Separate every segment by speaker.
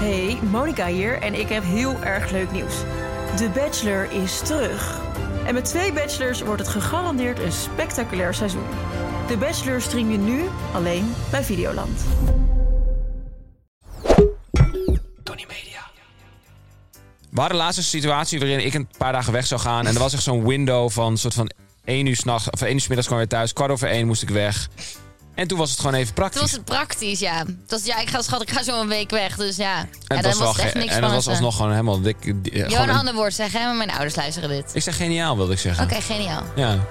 Speaker 1: Hey, Monica hier en ik heb heel erg leuk nieuws. De Bachelor is terug. En met twee Bachelors wordt het gegarandeerd een spectaculair seizoen. De Bachelor stream je nu alleen bij Videoland.
Speaker 2: Tony Media. We hadden laatst een situatie waarin ik een paar dagen weg zou gaan. En er was echt zo'n window van soort van 1 uur s'nachts of 1 uur 's middags kwam ik weer thuis. Kwart over 1 moest ik weg. En toen was het gewoon even praktisch.
Speaker 3: Toen was het praktisch, ja. Het was, ja, ik ga schat, ik ga zo een week weg. Dus ja, en
Speaker 2: en
Speaker 3: ja,
Speaker 2: het
Speaker 3: dan
Speaker 2: was, wel
Speaker 3: was het echt
Speaker 2: ge-
Speaker 3: niks
Speaker 2: en
Speaker 3: van. eh.
Speaker 2: het was alsnog gewoon helemaal dik. di- eh,
Speaker 3: Johan,
Speaker 2: gewoon
Speaker 3: een
Speaker 2: een-
Speaker 3: ander woord zeggen, hè, maar mijn ouders luisteren dit. Oké,
Speaker 2: ik zeg geniaal, wilde ik zeggen.
Speaker 3: geniaal.
Speaker 2: Ja.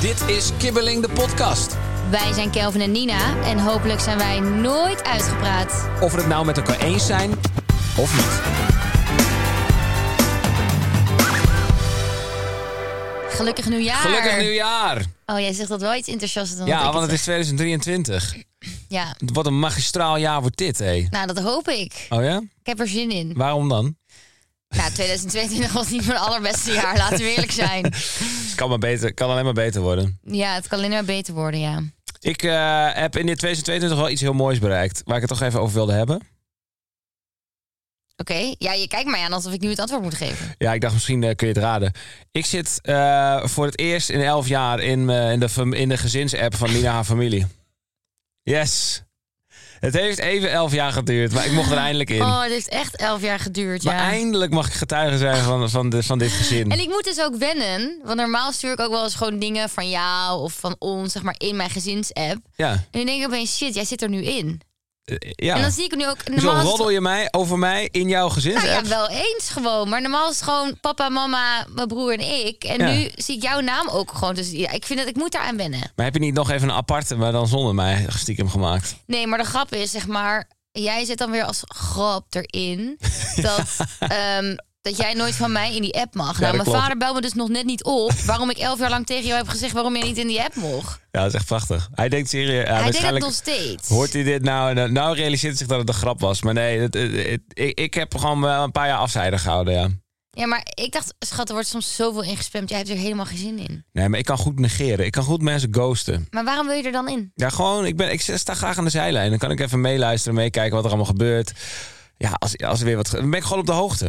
Speaker 2: Dit is Kibbeling de podcast.
Speaker 3: Wij zijn Kelvin en Nina en hopelijk zijn wij nooit uitgepraat.
Speaker 2: Of we het nou met elkaar eens zijn of niet.
Speaker 3: Gelukkig nieuwjaar.
Speaker 2: Gelukkig nieuwjaar.
Speaker 3: Oh, jij zegt dat wel iets enthousiaster dan dat
Speaker 2: Ja,
Speaker 3: ik
Speaker 2: want het is
Speaker 3: zeg.
Speaker 2: 2023.
Speaker 3: Ja,
Speaker 2: Wat een magistraal jaar wordt dit, hé.
Speaker 3: nou dat hoop ik.
Speaker 2: Oh ja?
Speaker 3: Ik heb er zin in.
Speaker 2: Waarom dan?
Speaker 3: Nou, 2022 was niet mijn allerbeste jaar, laten we eerlijk zijn.
Speaker 2: Het kan, maar beter, kan alleen maar beter worden.
Speaker 3: Ja, het kan alleen maar beter worden, ja.
Speaker 2: Ik eh, heb in dit 2022 wel iets heel moois bereikt. Waar ik het toch even over wilde hebben.
Speaker 3: Oké, ja, je kijkt mij aan alsof ik nu het antwoord moet geven.
Speaker 2: Ja, ik dacht misschien eh, kun je het raden. Ik zit eh, voor het eerst in elf jaar in, me- in, de, fam- in de gezinsapp van Nina haar familie. Yes. Het heeft even elf jaar geduurd, maar ik mocht er eindelijk in.
Speaker 3: Oh, het heeft echt elf jaar geduurd,
Speaker 2: Maar
Speaker 3: ja.
Speaker 2: eindelijk mag ik getuige zijn van, van, de, van dit gezin.
Speaker 3: En ik moet dus ook wennen, want normaal stuur ik ook wel eens gewoon dingen van jou of van ons, zeg maar, in mijn gezinsapp.
Speaker 2: Ja.
Speaker 3: En dan denk ik opeens, shit, jij zit er nu in.
Speaker 2: Eh, ja.
Speaker 3: En dan zie ik nu ook...
Speaker 2: Zo
Speaker 3: Normaal is het-
Speaker 2: roddel je mij over mij in jouw
Speaker 3: nou
Speaker 2: gezinsapp.
Speaker 3: ja, wel eens gewoon. Maar normaal is het gewoon papa, mama, mijn broer en ik. En
Speaker 2: Ja.
Speaker 3: nu zie ik jouw naam ook gewoon. Dus ja, ik vind dat ik moet daaraan wennen.
Speaker 2: Maar heb je niet nog even een aparte, maar dan zonder mij stiekem gemaakt?
Speaker 3: Nee, maar de grap is, zeg maar, jij zit dan weer als grap erin dat, ehm, dat jij nooit van mij in die app mag. nou,
Speaker 2: dat
Speaker 3: mijn
Speaker 2: klopt.
Speaker 3: vader belde me dus nog net niet op waarom ik elf jaar lang tegen jou heb gezegd waarom je niet in die app mocht.
Speaker 2: Ja, dat is echt prachtig. Hij denkt serieus. ja,
Speaker 3: hij deed het
Speaker 2: waarschijnlijk
Speaker 3: nog steeds.
Speaker 2: hoort hij dit nou. en dan- Nou realiseert hij zich dat het een grap was. Maar nee, het, het- het- ik, ik heb gewoon wel een paar jaar afzijdig gehouden, ja.
Speaker 3: Ja, maar ik dacht, schat, er wordt soms zoveel ingespamd. Jij hebt er helemaal geen zin in.
Speaker 2: Nee, maar ik kan goed negeren. Ik kan goed mensen ghosten.
Speaker 3: Maar waarom wil je er dan in?
Speaker 2: Ja, gewoon, ik, ben, ik sta graag aan de zijlijn. Dan kan ik even meeluisteren, meekijken wat er allemaal gebeurt. Ja, als, als er weer wat... ge- Dan ben ik gewoon op de hoogte.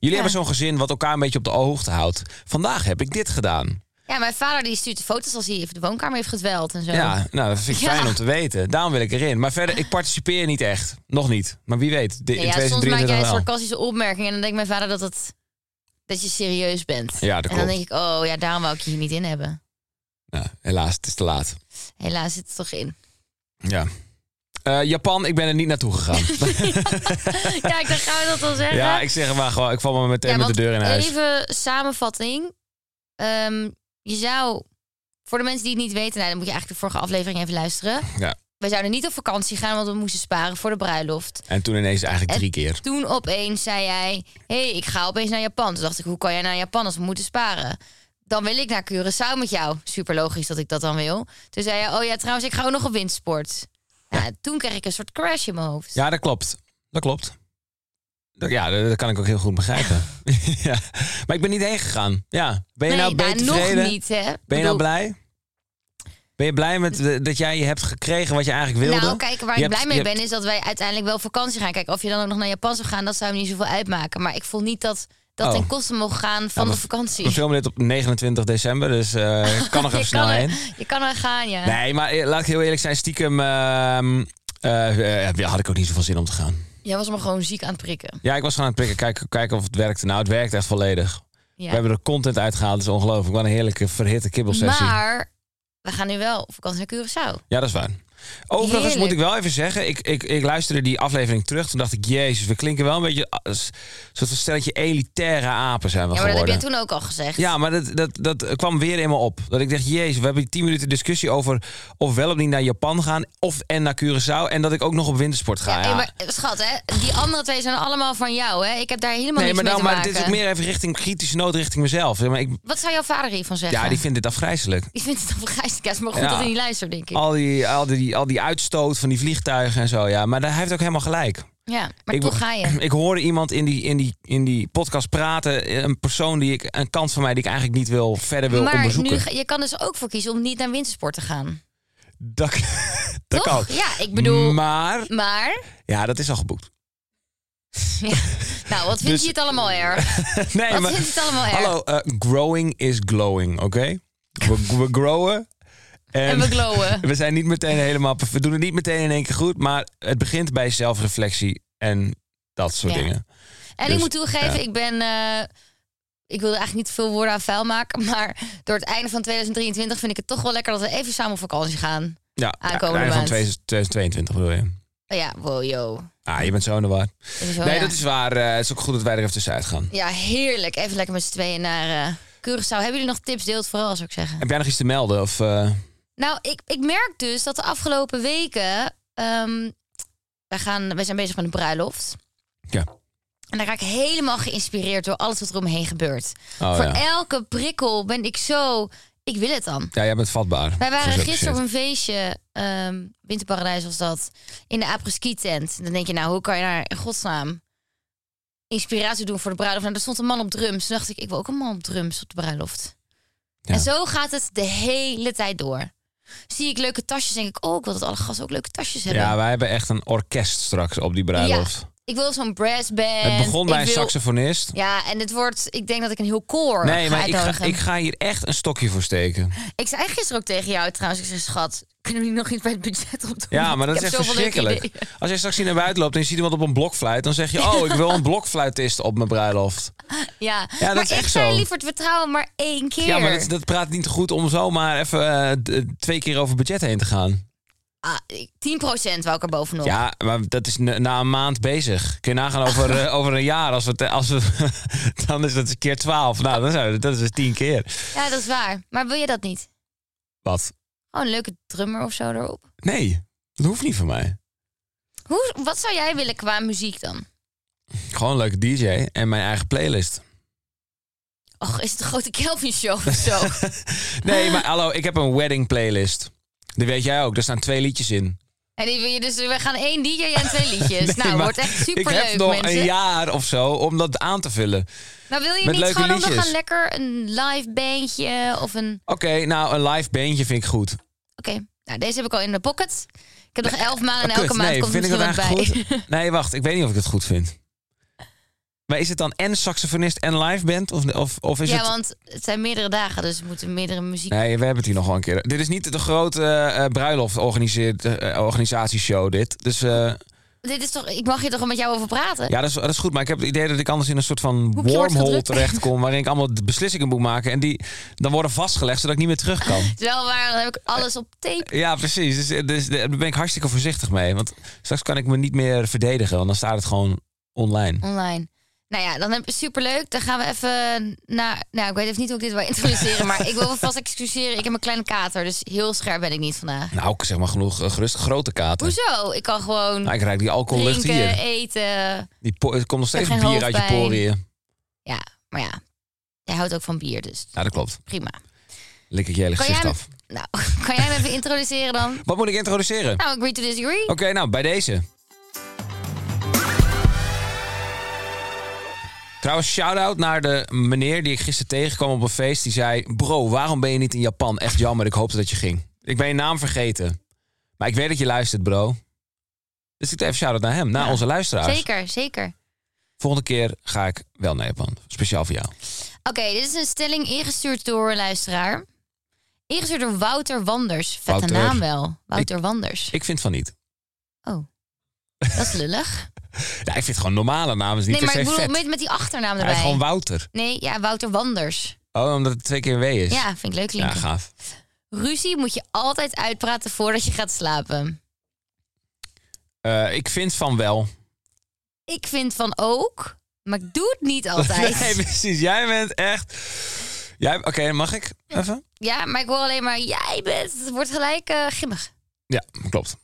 Speaker 2: Jullie
Speaker 3: Ja.
Speaker 2: hebben zo'n gezin wat elkaar een beetje op de hoogte houdt. Vandaag heb ik dit gedaan.
Speaker 3: Ja, mijn vader die stuurt de foto's als hij even de woonkamer heeft gedweld en zo.
Speaker 2: Ja, nou, dat vind ik
Speaker 3: Ja.
Speaker 2: fijn om te weten. Daarom wil ik erin. Maar verder, ik participeer niet echt. Nog niet. Maar wie weet, de,
Speaker 3: Nee,
Speaker 2: in
Speaker 3: ja, soms maak
Speaker 2: 2023
Speaker 3: jij
Speaker 2: wel.
Speaker 3: sarcastische opmerkingen en dan denkt mijn vader dat, het, dat je serieus bent.
Speaker 2: Ja, dat
Speaker 3: en dan
Speaker 2: klopt.
Speaker 3: denk ik, oh ja, daarom wou ik je hier niet in hebben.
Speaker 2: Nou, helaas, het is te laat.
Speaker 3: Helaas zit het toch in.
Speaker 2: Ja. Eh, Japan, ik ben er niet naartoe gegaan.
Speaker 3: ja, ik dacht, gaan we dat wel zeggen?
Speaker 2: ja, ik zeg het maar gewoon, ik val maar meteen
Speaker 3: Ja,
Speaker 2: met de
Speaker 3: want
Speaker 2: deur in huis.
Speaker 3: Even samenvatting. Ehm, je zou, voor de mensen die het niet weten, nou, dan moet je eigenlijk de vorige aflevering even luisteren.
Speaker 2: Ja.
Speaker 3: We zouden niet op vakantie gaan, want we moesten sparen voor de bruiloft.
Speaker 2: En toen ineens eigenlijk drie keer.
Speaker 3: Toen opeens zei jij, hé, hey, ik ga opeens naar Japan. Toen dacht ik, hoe kan jij naar Japan als we moeten sparen? Dan wil ik naar Curaçao met jou. Super logisch dat ik dat dan wil. Toen zei je, oh ja, trouwens, ik ga ook nog op windsport. Ja, toen kreeg ik een soort crash in mijn hoofd.
Speaker 2: Ja, dat klopt. Dat klopt. Dat- Ja, dat, dat kan ik ook heel goed begrijpen. ja. Maar ik ben niet heen gegaan. Ja. Ben je nou, ben je
Speaker 3: nou,
Speaker 2: tevreden?
Speaker 3: nog niet, hè?
Speaker 2: Ben je
Speaker 3: Bedoel-
Speaker 2: nou blij? Ben je blij met de- dat jij je hebt gekregen wat je eigenlijk wilde?
Speaker 3: Nou, kijk, waar
Speaker 2: Je
Speaker 3: ik
Speaker 2: hebt-
Speaker 3: blij mee
Speaker 2: je hebt-
Speaker 3: ben is dat wij uiteindelijk wel op vakantie gaan. Kijk, of je dan ook nog naar Japan zou gaan, dat zou me niet zoveel uitmaken. Maar ik voel niet dat dat
Speaker 2: Oh.
Speaker 3: ten koste mocht gaan van
Speaker 2: Nou,
Speaker 3: de vakantie.
Speaker 2: We filmen dit op 29 december, dus eh, ik kan nog even
Speaker 3: je, kan
Speaker 2: snel heen.
Speaker 3: er, je kan er gaan, ja.
Speaker 2: Nee, maar eh, laat ik heel eerlijk zijn, stiekem ehm, eh, eh, ja, had ik ook niet zoveel zin om te gaan.
Speaker 3: Jij was me gewoon ziek aan het prikken.
Speaker 2: Ja, ik was gewoon aan het prikken, kijken, kijken of het werkte. Nou, het werkt echt volledig.
Speaker 3: Ja.
Speaker 2: We hebben er content uitgehaald, dat is ongelooflijk. Wat een heerlijke verhitte kibbelsessie.
Speaker 3: Maar we gaan nu wel op vakantie naar Curaçao.
Speaker 2: Ja, dat is waar. Overigens
Speaker 3: Heerlijk.
Speaker 2: moet ik wel even zeggen, ik, ik, ik luisterde die aflevering terug. Toen dacht ik, jezus, we klinken wel een beetje als soort van stelletje elitaire apen zijn we
Speaker 3: Ja, maar dat heb
Speaker 2: geworden.
Speaker 3: jij toen ook al gezegd.
Speaker 2: Ja, maar dat, dat, dat kwam weer in me op. Dat ik dacht, jezus, we hebben tien minuten discussie over of wel of niet naar Japan gaan of en naar Curaçao. En dat ik ook nog op wintersport ga.
Speaker 3: Ja,
Speaker 2: ja.
Speaker 3: hey, maar schat, hè? die andere twee zijn allemaal van jou, hè? Ik heb daar helemaal
Speaker 2: nee,
Speaker 3: niks
Speaker 2: maar,
Speaker 3: mee
Speaker 2: nou,
Speaker 3: te
Speaker 2: maar
Speaker 3: maken.
Speaker 2: dit is ook meer even richting kritische nood richting mezelf. Zeg Maar ik,
Speaker 3: Wat zou jouw vader hiervan zeggen?
Speaker 2: ja, die vindt dit afgrijzelijk.
Speaker 3: Die vindt het een gijstekast, maar goed
Speaker 2: Ja.
Speaker 3: dat hij niet luistert, denk ik.
Speaker 2: Al die, al, die, al die uitstoot van die vliegtuigen en zo. Ja. Maar daar hij heeft ook helemaal gelijk.
Speaker 3: Ja, maar
Speaker 2: ik,
Speaker 3: toch ga je.
Speaker 2: Ik hoorde iemand in die, in, die, in die podcast praten. Een persoon die ik, een kant van mij die ik eigenlijk niet wil, verder wil
Speaker 3: maar
Speaker 2: onderzoeken.
Speaker 3: nu, ga- je kan dus ook voor kiezen om niet naar wintersport te gaan.
Speaker 2: Dat, dat
Speaker 3: Toch?
Speaker 2: kan.
Speaker 3: Ja, ik bedoel,
Speaker 2: Maar,
Speaker 3: maar...
Speaker 2: ja, dat is al geboekt.
Speaker 3: Nou, wat vind
Speaker 2: Dus-
Speaker 3: je het allemaal erg?
Speaker 2: Nee,
Speaker 3: Wat
Speaker 2: maar,
Speaker 3: vind je het allemaal erg?
Speaker 2: hallo, eh, growing is glowing, oké? We, we growen. En,
Speaker 3: En we glowen.
Speaker 2: we zijn niet meteen helemaal, we doen het niet meteen in één keer goed, maar het begint bij zelfreflectie en dat soort
Speaker 3: Ja.
Speaker 2: dingen.
Speaker 3: En
Speaker 2: Dus,
Speaker 3: ik moet toegeven,
Speaker 2: ja.
Speaker 3: ik ben. eh, ik wilde eigenlijk niet veel woorden aan vuil maken. Maar door het einde van 2023 vind ik het toch wel lekker dat we even samen op vakantie gaan.
Speaker 2: Ja, ja,
Speaker 3: Aankomende
Speaker 2: het einde van
Speaker 3: maand.
Speaker 2: 2022 bedoel je.
Speaker 3: Oh ja, wow, yo.
Speaker 2: Ah, je bent zo in de war.
Speaker 3: Dat is wel,
Speaker 2: nee,
Speaker 3: ja.
Speaker 2: dat is waar. Eh, het is ook goed dat wij er even tussenuit gaan.
Speaker 3: ja, heerlijk. Even lekker met z'n tweeën naar eh Curaçao. Hebben jullie nog tips? Deel het vooral, zou ik zeggen.
Speaker 2: Heb jij nog iets te melden? Of, eh,
Speaker 3: Nou, ik, ik merk dus dat de afgelopen weken. ehm, wij, gaan, wij zijn bezig met een bruiloft.
Speaker 2: ja.
Speaker 3: En daar raak ik helemaal geïnspireerd door alles wat er omheen gebeurt.
Speaker 2: Oh,
Speaker 3: Voor
Speaker 2: ja.
Speaker 3: elke prikkel ben ik zo. Ik wil het dan.
Speaker 2: ja, jij bent vatbaar.
Speaker 3: Wij
Speaker 2: voor
Speaker 3: waren
Speaker 2: zulke
Speaker 3: gisteren op
Speaker 2: shit.
Speaker 3: een feestje, ehm, Winterparadijs was dat, in de apres-ski tent. Dan denk je, nou, hoe kan je daar in godsnaam inspiratie doen voor de bruiloft? Nou, er stond een man op drums. Toen dacht ik, ik wil ook een man op drums op de bruiloft.
Speaker 2: Ja.
Speaker 3: En zo gaat het de hele tijd door. Zie ik leuke tasjes, denk ik, oh, ik wil dat alle gasten ook leuke tasjes hebben.
Speaker 2: Ja, wij hebben echt een orkest straks op die bruiloft.
Speaker 3: Ik wil zo'n brass band.
Speaker 2: Het begon bij
Speaker 3: ik
Speaker 2: een
Speaker 3: wil-
Speaker 2: saxofonist.
Speaker 3: Ja, en het wordt, ik denk dat ik een heel koor
Speaker 2: Nee,
Speaker 3: ga
Speaker 2: maar ik ga,
Speaker 3: uitnodigen.
Speaker 2: ik ga hier echt een stokje voor steken.
Speaker 3: Ik zei gisteren ook tegen jou trouwens, ik zei, schat, kunnen we hier nog iets bij het budget op doen?
Speaker 2: Ja, maar dat
Speaker 3: Ik
Speaker 2: is
Speaker 3: heb
Speaker 2: echt
Speaker 3: zoveel leuke
Speaker 2: verschrikkelijk.
Speaker 3: ideeën.
Speaker 2: Als je straks hier naar buiten loopt en je ziet iemand op een blokfluit... dan zeg je, oh, ik wil een blokfluitist op mijn bruiloft.
Speaker 3: Ja,
Speaker 2: dat
Speaker 3: maar
Speaker 2: is
Speaker 3: ik
Speaker 2: echt
Speaker 3: zou
Speaker 2: zo.
Speaker 3: je liever het vertrouwen maar één keer.
Speaker 2: Ja, maar dat, dat praat niet goed om zomaar even eh, d- twee keer over budget heen te gaan.
Speaker 3: Ah, ik- 10% wou ik er bovenop.
Speaker 2: Ja, maar dat is na- na een maand bezig. Kun je nagaan over, eh, over een jaar. Als we, te- als we, dan is dat keer twaalf. Nou, dan zijn we, dat is dus tien keer.
Speaker 3: Ja, dat is waar. Maar wil je dat niet?
Speaker 2: Wat?
Speaker 3: Oh, een leuke drummer of zo erop.
Speaker 2: Nee, dat hoeft niet van mij.
Speaker 3: Hoe, wat zou jij willen qua muziek dan?
Speaker 2: Gewoon een leuke DJ en mijn eigen playlist.
Speaker 3: Och, is het een grote Kelvin show of zo?
Speaker 2: Nee, maar hallo, ik heb een wedding playlist. Die weet jij ook, daar staan twee liedjes in.
Speaker 3: en die wil je dus, we gaan één DJ en twee liedjes. nou,
Speaker 2: maar
Speaker 3: wordt echt
Speaker 2: ik heb
Speaker 3: superleuk,
Speaker 2: nog
Speaker 3: mensen.
Speaker 2: een jaar of zo om dat aan te vullen.
Speaker 3: Maar wil je
Speaker 2: met
Speaker 3: niet
Speaker 2: leuke
Speaker 3: gewoon ook nog
Speaker 2: liedjes.
Speaker 3: een lekker een live bandje of een...
Speaker 2: Oké, nou, een live bandje vind ik goed.
Speaker 3: Oké, nou deze heb ik al in de pocket. Ik heb nog elf maanden en
Speaker 2: Oh,
Speaker 3: nou, elke
Speaker 2: kut,
Speaker 3: maand
Speaker 2: nee,
Speaker 3: komt
Speaker 2: vind ik
Speaker 3: misschien
Speaker 2: dat
Speaker 3: wat bij.
Speaker 2: eigenlijk goed? Nee, wacht, ik weet niet of ik het goed vind. Maar is het dan en saxofonist en live band? Of, of, of is
Speaker 3: ja,
Speaker 2: het...
Speaker 3: want het zijn meerdere dagen, dus we moeten meerdere muziek...
Speaker 2: Nee, we hebben het hier nog wel een keer. Dit is niet de grote eh, eh, bruiloft organiseert- eh, organisatieshow dit. Dus eh,
Speaker 3: Dit is toch, ik mag hier toch met jou over praten?
Speaker 2: ja, dat is, dat is goed. Maar ik heb het idee dat ik anders in een soort van
Speaker 3: Hoekje wordt
Speaker 2: wormhole
Speaker 3: gedrukt.
Speaker 2: terechtkom... waarin ik allemaal de beslissingen moet maken. En die dan worden vastgelegd, zodat ik niet meer terug kan.
Speaker 3: Het is wel waar, dan heb ik alles op tape.
Speaker 2: Ja, precies. Dus, eh, dus, eh, daar ben ik hartstikke voorzichtig mee. Want straks kan ik me niet meer verdedigen. Want dan staat het gewoon online.
Speaker 3: Online. Nou ja, dan heb je superleuk. Dan gaan we even naar... Nou, ik weet even niet hoe ik dit wil introduceren, maar ik wil me vast excuseren. Ik heb een kleine kater, dus heel scherp ben ik niet vandaag.
Speaker 2: Nou, ik zeg maar genoeg eh, gerust grote kater.
Speaker 3: Hoezo? Ik kan gewoon
Speaker 2: Nou, ik ruik die alcohollucht
Speaker 3: drinken,
Speaker 2: hier.
Speaker 3: eten.
Speaker 2: Die po- er komt nog steeds
Speaker 3: geen
Speaker 2: bier uit je
Speaker 3: hoofdpijn.
Speaker 2: poriën.
Speaker 3: Ja, maar ja. Jij houdt ook van bier, dus
Speaker 2: Ja, dat klopt.
Speaker 3: prima.
Speaker 2: Lik ik je hele
Speaker 3: Kan
Speaker 2: gezicht
Speaker 3: jij-
Speaker 2: af.
Speaker 3: Nou, kan jij me even introduceren dan?
Speaker 2: Wat moet ik introduceren?
Speaker 3: Nou, agree to disagree.
Speaker 2: Oké, nou, bij deze. Trouwens, shout-out naar de meneer die ik gisteren tegenkwam op een feest. Die zei, bro, waarom ben je niet in Japan? Echt jammer, ik hoopte dat je ging. Ik ben je naam vergeten. Maar ik weet dat je luistert, bro. Dus ik doe even shout-out naar hem, naar
Speaker 3: Ja,
Speaker 2: onze luisteraars.
Speaker 3: Zeker, zeker.
Speaker 2: Volgende keer ga ik wel naar Japan. Speciaal voor jou.
Speaker 3: Oké, dit is een stelling ingestuurd door een luisteraar. Ingestuurd door Wouter Wanders. Vette
Speaker 2: Wouter.
Speaker 3: naam wel. Wouter Wanders.
Speaker 2: Ik vind van niet.
Speaker 3: Oh, dat is lullig.
Speaker 2: Ja, ik vind gewoon normale namen is niet
Speaker 3: nee, maar
Speaker 2: per
Speaker 3: ik
Speaker 2: se
Speaker 3: bedoel
Speaker 2: vet.
Speaker 3: met, met die achternaam
Speaker 2: Hij is
Speaker 3: erbij.
Speaker 2: gewoon Wouter.
Speaker 3: Nee, ja, Wouter Wanders.
Speaker 2: Oh, omdat het twee keer een W is.
Speaker 3: Ja, vind ik leuk
Speaker 2: ja
Speaker 3: klinken.
Speaker 2: gaaf.
Speaker 3: Ruzie moet je altijd uitpraten voordat je gaat slapen.
Speaker 2: Eh, ik vind van wel.
Speaker 3: Ik vind van ook, maar ik doe het niet altijd.
Speaker 2: Nee, precies. Jij bent echt... Jij... Oké, mag ik even?
Speaker 3: Ja, maar ik hoor alleen maar, jij bent, het wordt gelijk eh gimmig.
Speaker 2: Ja, klopt.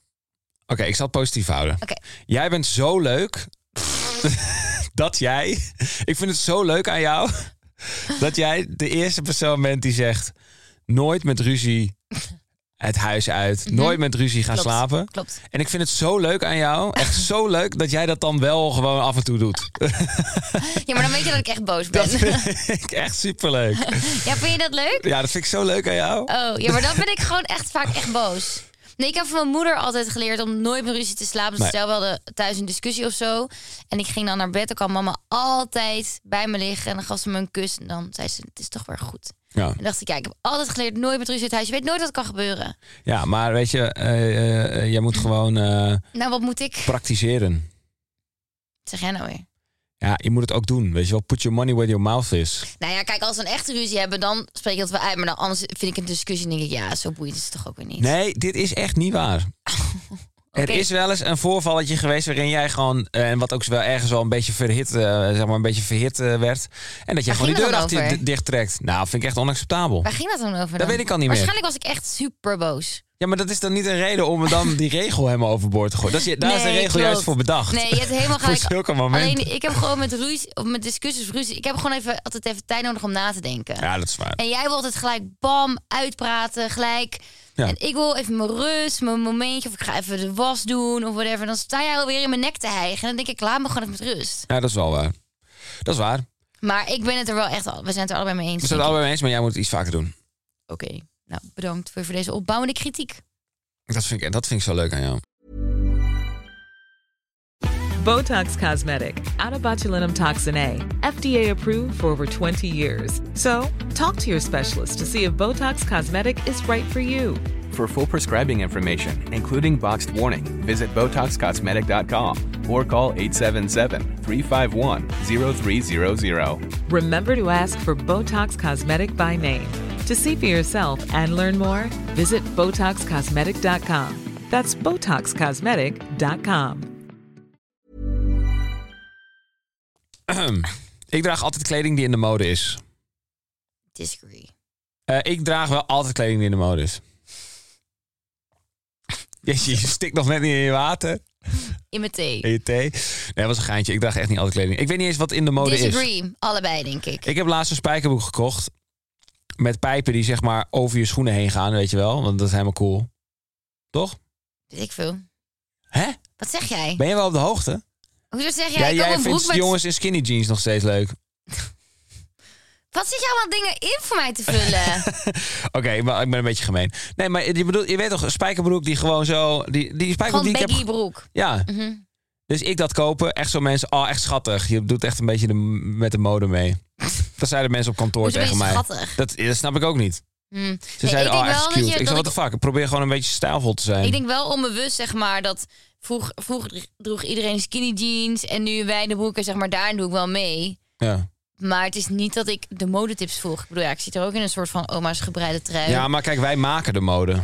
Speaker 2: Oké, ik zal het positief houden.
Speaker 3: Oké.
Speaker 2: Jij bent zo leuk dat jij... Ik vind het zo leuk aan jou dat jij de eerste persoon bent die zegt... nooit met ruzie het huis uit. Nooit met ruzie gaan
Speaker 3: Mhm. Klopt.
Speaker 2: slapen.
Speaker 3: Klopt.
Speaker 2: En ik vind het zo leuk aan jou. Echt zo leuk dat jij dat dan wel gewoon af en toe doet.
Speaker 3: Ja, maar dan weet je dat ik echt boos ben.
Speaker 2: Dat vind ik echt superleuk.
Speaker 3: Ja, vind je dat leuk?
Speaker 2: Ja, dat vind ik zo leuk aan jou.
Speaker 3: Oh, ja, maar dan ben ik gewoon echt vaak echt boos. Nee, ik heb van mijn moeder altijd geleerd om nooit met ruzie te slapen. Dus
Speaker 2: Nee.
Speaker 3: stel, we hadden thuis een discussie of zo. En ik ging dan naar bed. Dan kwam mama altijd bij me liggen. En dan gaf ze me een kus. En dan zei ze, het is toch weer goed.
Speaker 2: Ja.
Speaker 3: En dacht ik, ja, ik heb altijd geleerd nooit met ruzie uit huis. Je weet nooit wat kan gebeuren.
Speaker 2: ja, maar weet je, eh, eh, eh, jij moet gewoon eh,
Speaker 3: Nou, wat moet ik?
Speaker 2: praktiseren.
Speaker 3: Zeg jij nou weer?
Speaker 2: Ja, je moet het ook doen. Weet je wel, put your money where your mouth is.
Speaker 3: Nou ja, kijk, als we een echte ruzie hebben, dan spreek ik dat wel uit. Maar dan anders vind ik een discussie en denk ik, ja, zo boeiend is het toch ook weer niet.
Speaker 2: Nee, dit is echt niet waar. Er
Speaker 3: Oké.
Speaker 2: is wel eens een voorvalletje geweest waarin jij gewoon, eh, en wat ook wel ergens wel een beetje verhit, eh, zeg maar een beetje verhit eh, werd. En dat je
Speaker 3: Waar
Speaker 2: gewoon die
Speaker 3: ging het
Speaker 2: deur
Speaker 3: dan
Speaker 2: achter je
Speaker 3: over?
Speaker 2: d- dicht trekt. Nou, vind ik echt onacceptabel.
Speaker 3: Waar ging dat dan over?
Speaker 2: Dat
Speaker 3: dan?
Speaker 2: weet ik al niet meer.
Speaker 3: Waarschijnlijk was ik echt super boos.
Speaker 2: Ja, maar dat is dan niet een reden om dan die regel helemaal overboord te gooien. Dat is, je- daar is de
Speaker 3: Nee,
Speaker 2: regel
Speaker 3: klopt.
Speaker 2: juist voor bedacht.
Speaker 3: Nee, je hebt helemaal
Speaker 2: voor
Speaker 3: gelijk.
Speaker 2: zulke momenten.
Speaker 3: Alleen ik heb gewoon met ruzie, of met discussies of ruzie, ik heb gewoon even, altijd even tijd nodig om na te denken.
Speaker 2: Ja, dat is waar.
Speaker 3: En jij wil altijd gelijk bam, uitpraten, gelijk.
Speaker 2: Ja.
Speaker 3: En ik wil even mijn rust, mijn momentje, of ik ga even de was doen of whatever. Dan sta jij alweer in mijn nek te hijgen. En dan denk ik, laat me gewoon even met rust.
Speaker 2: Ja, dat is wel waar. Dat is waar.
Speaker 3: Maar ik ben het er wel echt al. We zijn het er allebei mee eens.
Speaker 2: We zijn het
Speaker 3: denk ik.
Speaker 2: allebei mee eens, maar jij moet het iets vaker doen.
Speaker 3: Oké, nou bedankt voor, voor deze opbouwende kritiek.
Speaker 2: Dat vind ik, dat vind ik zo leuk aan jou.
Speaker 4: Botox Cosmetic, out of botulinum toxin A, FDA approved for over 20 years. So, talk to your specialist to see if Botox Cosmetic is right for you.
Speaker 5: For full prescribing information, including boxed warning, visit BotoxCosmetic.com or call 877-351-0300.
Speaker 4: Remember to ask for Botox Cosmetic by name. To see for yourself and learn more, visit BotoxCosmetic.com. That's BotoxCosmetic.com.
Speaker 2: Ik draag altijd kleding die in de mode is.
Speaker 3: Disagree.
Speaker 2: Eh, ik draag wel altijd kleding die in de mode is. Jeetje, je stikt nog net niet in je water.
Speaker 3: In mijn thee.
Speaker 2: In je thee. Nee, dat was een geintje. Ik draag echt niet altijd kleding. Ik weet niet eens wat in de mode oh, is.
Speaker 3: Disagree. Allebei, denk ik.
Speaker 2: Ik heb laatst een spijkerboek gekocht. Met pijpen die zeg maar over je schoenen heen gaan, weet je wel. Want dat is helemaal cool. Toch?
Speaker 3: Weet ik veel.
Speaker 2: Hè?
Speaker 3: Wat zeg jij?
Speaker 2: Ben je wel op de hoogte?
Speaker 3: Hoezo zeg jij?
Speaker 2: Ja,
Speaker 3: ik
Speaker 2: jij
Speaker 3: heb een broek
Speaker 2: vindt
Speaker 3: met...
Speaker 2: jongens in skinny jeans nog steeds leuk.
Speaker 3: Wat zit je allemaal dingen in voor mij te vullen?
Speaker 2: Oké, maar ik ben een beetje gemeen. Nee, maar je, bedoelt, je weet toch, een spijkerbroek die gewoon zo... Die, die spijkerbroek
Speaker 3: Gewoon
Speaker 2: die ik heb...
Speaker 3: baggy broek.
Speaker 2: Ja,
Speaker 3: Mhm.
Speaker 2: dus ik dat kopen. Echt zo mensen, oh echt schattig. Je doet echt een beetje de, met de mode mee. Dat zeiden mensen op kantoor
Speaker 3: Hoezo ben je
Speaker 2: tegen mij.
Speaker 3: schattig?
Speaker 2: Dat, dat snap ik ook niet.
Speaker 3: Hm.
Speaker 2: Ze
Speaker 3: Nee,
Speaker 2: zeiden,
Speaker 3: ik denk
Speaker 2: oh echt
Speaker 3: wel
Speaker 2: cute.
Speaker 3: dat je-
Speaker 2: ik zei,
Speaker 3: dat
Speaker 2: wat de fuck, ik probeer gewoon een beetje stijlvol te zijn.
Speaker 3: Ik denk wel onbewust, zeg maar, dat vroeg, vroeger droeg iedereen skinny jeans en nu wij de broeken, zeg maar, daar doe ik wel mee.
Speaker 2: ja.
Speaker 3: Maar het is niet dat ik de modetips volg. Ik bedoel, ja, ik zit er ook in een soort van oma's gebreide trui.
Speaker 2: ja, maar kijk, wij maken de mode. Nee,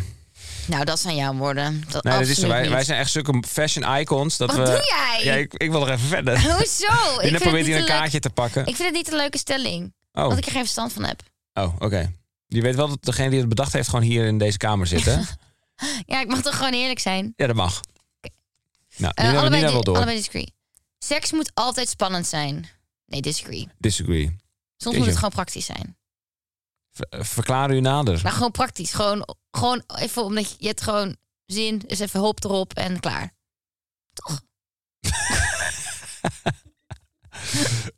Speaker 3: Nou, dat zijn jouw woorden. Dat
Speaker 2: dat is zo.
Speaker 3: absoluut
Speaker 2: Wij,
Speaker 3: niet.
Speaker 2: wij zijn echt zulke fashion icons. Dat
Speaker 3: Wat
Speaker 2: we,
Speaker 3: doe jij?
Speaker 2: Ja, ik, ik wil er even verder.
Speaker 3: Hoezo?
Speaker 2: En
Speaker 3: vind
Speaker 2: dan probeert
Speaker 3: het niet
Speaker 2: hij een
Speaker 3: leuk-
Speaker 2: kaartje te pakken.
Speaker 3: Ik vind het niet een leuke stelling.
Speaker 2: Oh.
Speaker 3: Want ik er geen verstand van heb.
Speaker 2: Oh, oké. Je weet wel dat degene die het bedacht heeft gewoon hier in deze kamer zit, hè?
Speaker 3: Ja, ik mag toch gewoon eerlijk zijn?
Speaker 2: ja, dat mag. Nou,
Speaker 3: Eh,
Speaker 2: nu hebben we
Speaker 3: allebei,
Speaker 2: Nina wel
Speaker 3: di-
Speaker 2: door.
Speaker 3: allebei disagree. Seks moet altijd spannend zijn. Nee, disagree.
Speaker 2: Disagree.
Speaker 3: Soms
Speaker 2: Jeetje.
Speaker 3: moet het gewoon praktisch zijn.
Speaker 2: Ver- eh, verklaar u nader.
Speaker 3: Maar gewoon praktisch. Gewoon, gewoon even omdat je, je hebt gewoon zin. Is even hulp erop en klaar.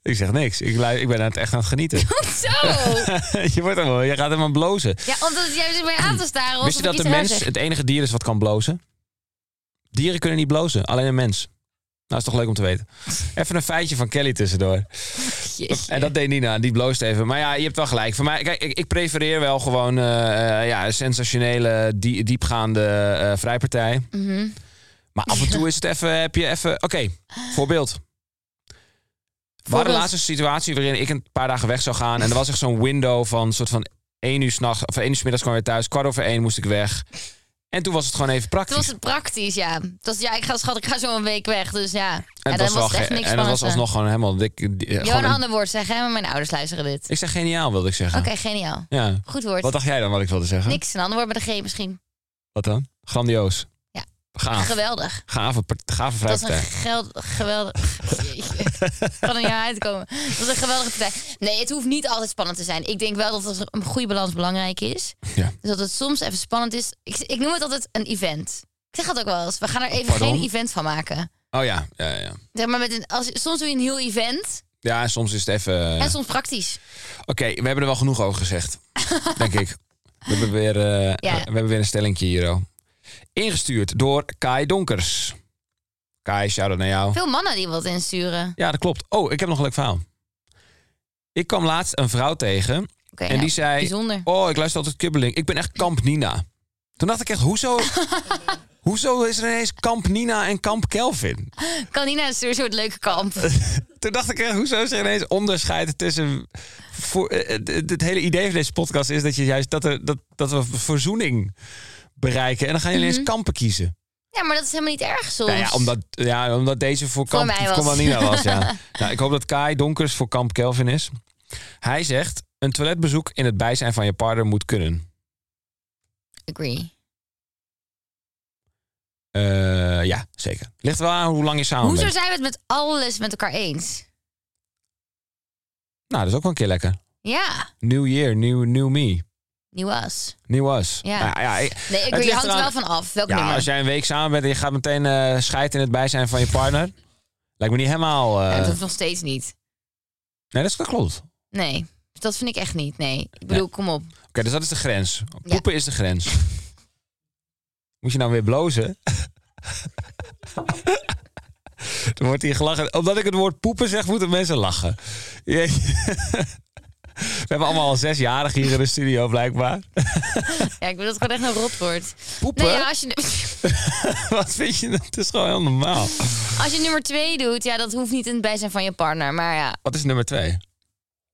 Speaker 2: Ik zeg niks. Ik, lui- ik ben aan het echt aan het genieten.
Speaker 3: Zo!
Speaker 2: je wordt helemaal, je gaat helemaal blozen.
Speaker 3: ja, omdat jij zit mij aan te staren. alsof
Speaker 2: Wist je
Speaker 3: ik
Speaker 2: dat
Speaker 3: iets
Speaker 2: de mens
Speaker 3: raars zeg.
Speaker 2: het enige dier is wat kan blozen? Dieren kunnen niet blozen, alleen een mens. Nou, is toch leuk om te weten. Even een feitje van Kelly tussendoor.
Speaker 3: Jeetje.
Speaker 2: En dat deed Nina, die bloost even. Maar ja, je hebt wel gelijk. Voor mij, kijk, ik, ik prefereer wel gewoon eh, eh, ja, een sensationele, die- diepgaande eh, vrijpartij.
Speaker 3: Mhm.
Speaker 2: Maar af en toe is het even, heb je even... Oké, voorbeeld. We hadden
Speaker 3: Voorbeeld.
Speaker 2: laatst een situatie waarin ik een paar dagen weg zou gaan. En er was echt zo'n window van soort van één uur s'nachts... Of één uur 's middags kwam ik weer thuis. Kwart over één moest ik weg. En toen was het gewoon even
Speaker 3: Toen
Speaker 2: praktisch.
Speaker 3: was het praktisch, ja. Toen was het, ja, ik ga schat, ik ga zo een week weg. Dus ja. En,
Speaker 2: en
Speaker 3: dan
Speaker 2: het
Speaker 3: was,
Speaker 2: wel
Speaker 3: het echt
Speaker 2: ge-
Speaker 3: niks
Speaker 2: En dat was
Speaker 3: spannends aan.
Speaker 2: alsnog gewoon helemaal... Dik, di- eh,
Speaker 3: Je
Speaker 2: gewoon
Speaker 3: wou een
Speaker 2: een-
Speaker 3: ander woord zeggen, hè, maar mijn ouders luisteren dit.
Speaker 2: ik zeg geniaal, wilde ik zeggen.
Speaker 3: Oké, geniaal.
Speaker 2: Ja.
Speaker 3: Goed woord.
Speaker 2: Wat dacht jij dan wat ik wilde zeggen?
Speaker 3: Niks, een ander woord met een G misschien.
Speaker 2: Wat dan? Grandioos.
Speaker 3: Ja.
Speaker 2: Gaaf.
Speaker 3: Geweldig.
Speaker 2: Gave, part- gave
Speaker 3: Dat is een
Speaker 2: vrijpartij.
Speaker 3: geld, geweldig... Jeetje. Ik kan er niet uitkomen. Dat is een geweldige partij. Nee, het hoeft niet altijd spannend te zijn. Ik denk wel dat het een goede balans belangrijk is.
Speaker 2: Ja.
Speaker 3: Dus dat het soms even spannend is. Ik, ik noem het altijd een event. Ik zeg dat ook wel eens. We gaan er even
Speaker 2: Pardon?
Speaker 3: geen event van maken.
Speaker 2: Oh ja, ja, ja.
Speaker 3: Zeg maar met een, als, soms doe je een heel event.
Speaker 2: Ja, soms is het even...
Speaker 3: En soms praktisch.
Speaker 2: Oké, we hebben er wel genoeg over gezegd. denk ik. We hebben weer, eh,
Speaker 3: Ja.
Speaker 2: we hebben weer een stellingje hier. oh. Ingestuurd door Kai Donkers. Kai, shout-out naar jou.
Speaker 3: Veel mannen die wat insturen.
Speaker 2: Ja, dat klopt. Oh, ik heb nog een leuk verhaal. Ik kwam laatst een vrouw tegen
Speaker 3: Oké,
Speaker 2: en
Speaker 3: nou,
Speaker 2: die zei...
Speaker 3: Bijzonder.
Speaker 2: Oh, ik luister altijd kibbeling. Ik ben echt Kamp Nina. Toen dacht ik echt, hoezo, hoezo is er ineens Kamp Nina en Kamp Kelvin?
Speaker 3: Kan niet naar een soort- soort leuke kamp.
Speaker 2: Toen dacht ik echt, hoezo is er ineens onderscheid tussen... Voor, eh, eh, het, het hele idee van deze podcast is dat, je juist, dat, er, dat, dat we verzoening bereiken. En dan ga je
Speaker 3: Mhm.
Speaker 2: ineens kampen kiezen.
Speaker 3: Ja, maar dat is helemaal niet erg soms.
Speaker 2: Nou ja, omdat, ja, omdat deze voor Kamp
Speaker 3: mij was.
Speaker 2: Kamp Nina was. Ja. nou, ik hoop dat Kai Donkers voor Kamp Kelvin is. Hij zegt, een toiletbezoek in het bijzijn van je partner moet kunnen.
Speaker 3: Agree.
Speaker 2: Eh, ja, zeker. Ligt er wel aan hoe lang je samen
Speaker 3: Hoezo
Speaker 2: bent.
Speaker 3: zijn we het met alles met elkaar eens?
Speaker 2: Nou, dat is ook wel een keer lekker.
Speaker 3: Ja,
Speaker 2: New year, new, new me.
Speaker 3: nieuw as.
Speaker 2: New us.
Speaker 3: Ja.
Speaker 2: Nou ja, ik-
Speaker 3: Nee, ik
Speaker 2: ligt
Speaker 3: agree, hangt er
Speaker 2: eraan-
Speaker 3: wel van af. Welk
Speaker 2: ja,
Speaker 3: nummer?
Speaker 2: als jij een week samen bent en je gaat meteen eh scheiden in het bijzijn van je partner. lijkt me niet helemaal... eh,
Speaker 3: Ja, dat hoeft nog steeds niet.
Speaker 2: Nee, dat, is, dat klopt. Oké,
Speaker 3: Nee, dus dat vind ik echt niet. Nee, ik bedoel, kom op.
Speaker 2: dus dat is de grens. Poepen is de grens. Moet je nou weer blozen? Dan wordt hier gelachen. Omdat ik het woord poepen zeg, moeten mensen lachen. Jeetje. We hebben allemaal al zesjarig hier in de studio, blijkbaar.
Speaker 3: Ja, ik bedoel, dat het gewoon echt een rot wordt.
Speaker 2: Poepen?
Speaker 3: Nee, ja, als je...
Speaker 2: Wat vind je? Dat is gewoon heel normaal.
Speaker 3: Als je nummer twee doet, ja, dat hoeft niet in het bijzijn van je partner. Maar ja,
Speaker 2: Wat is nummer twee?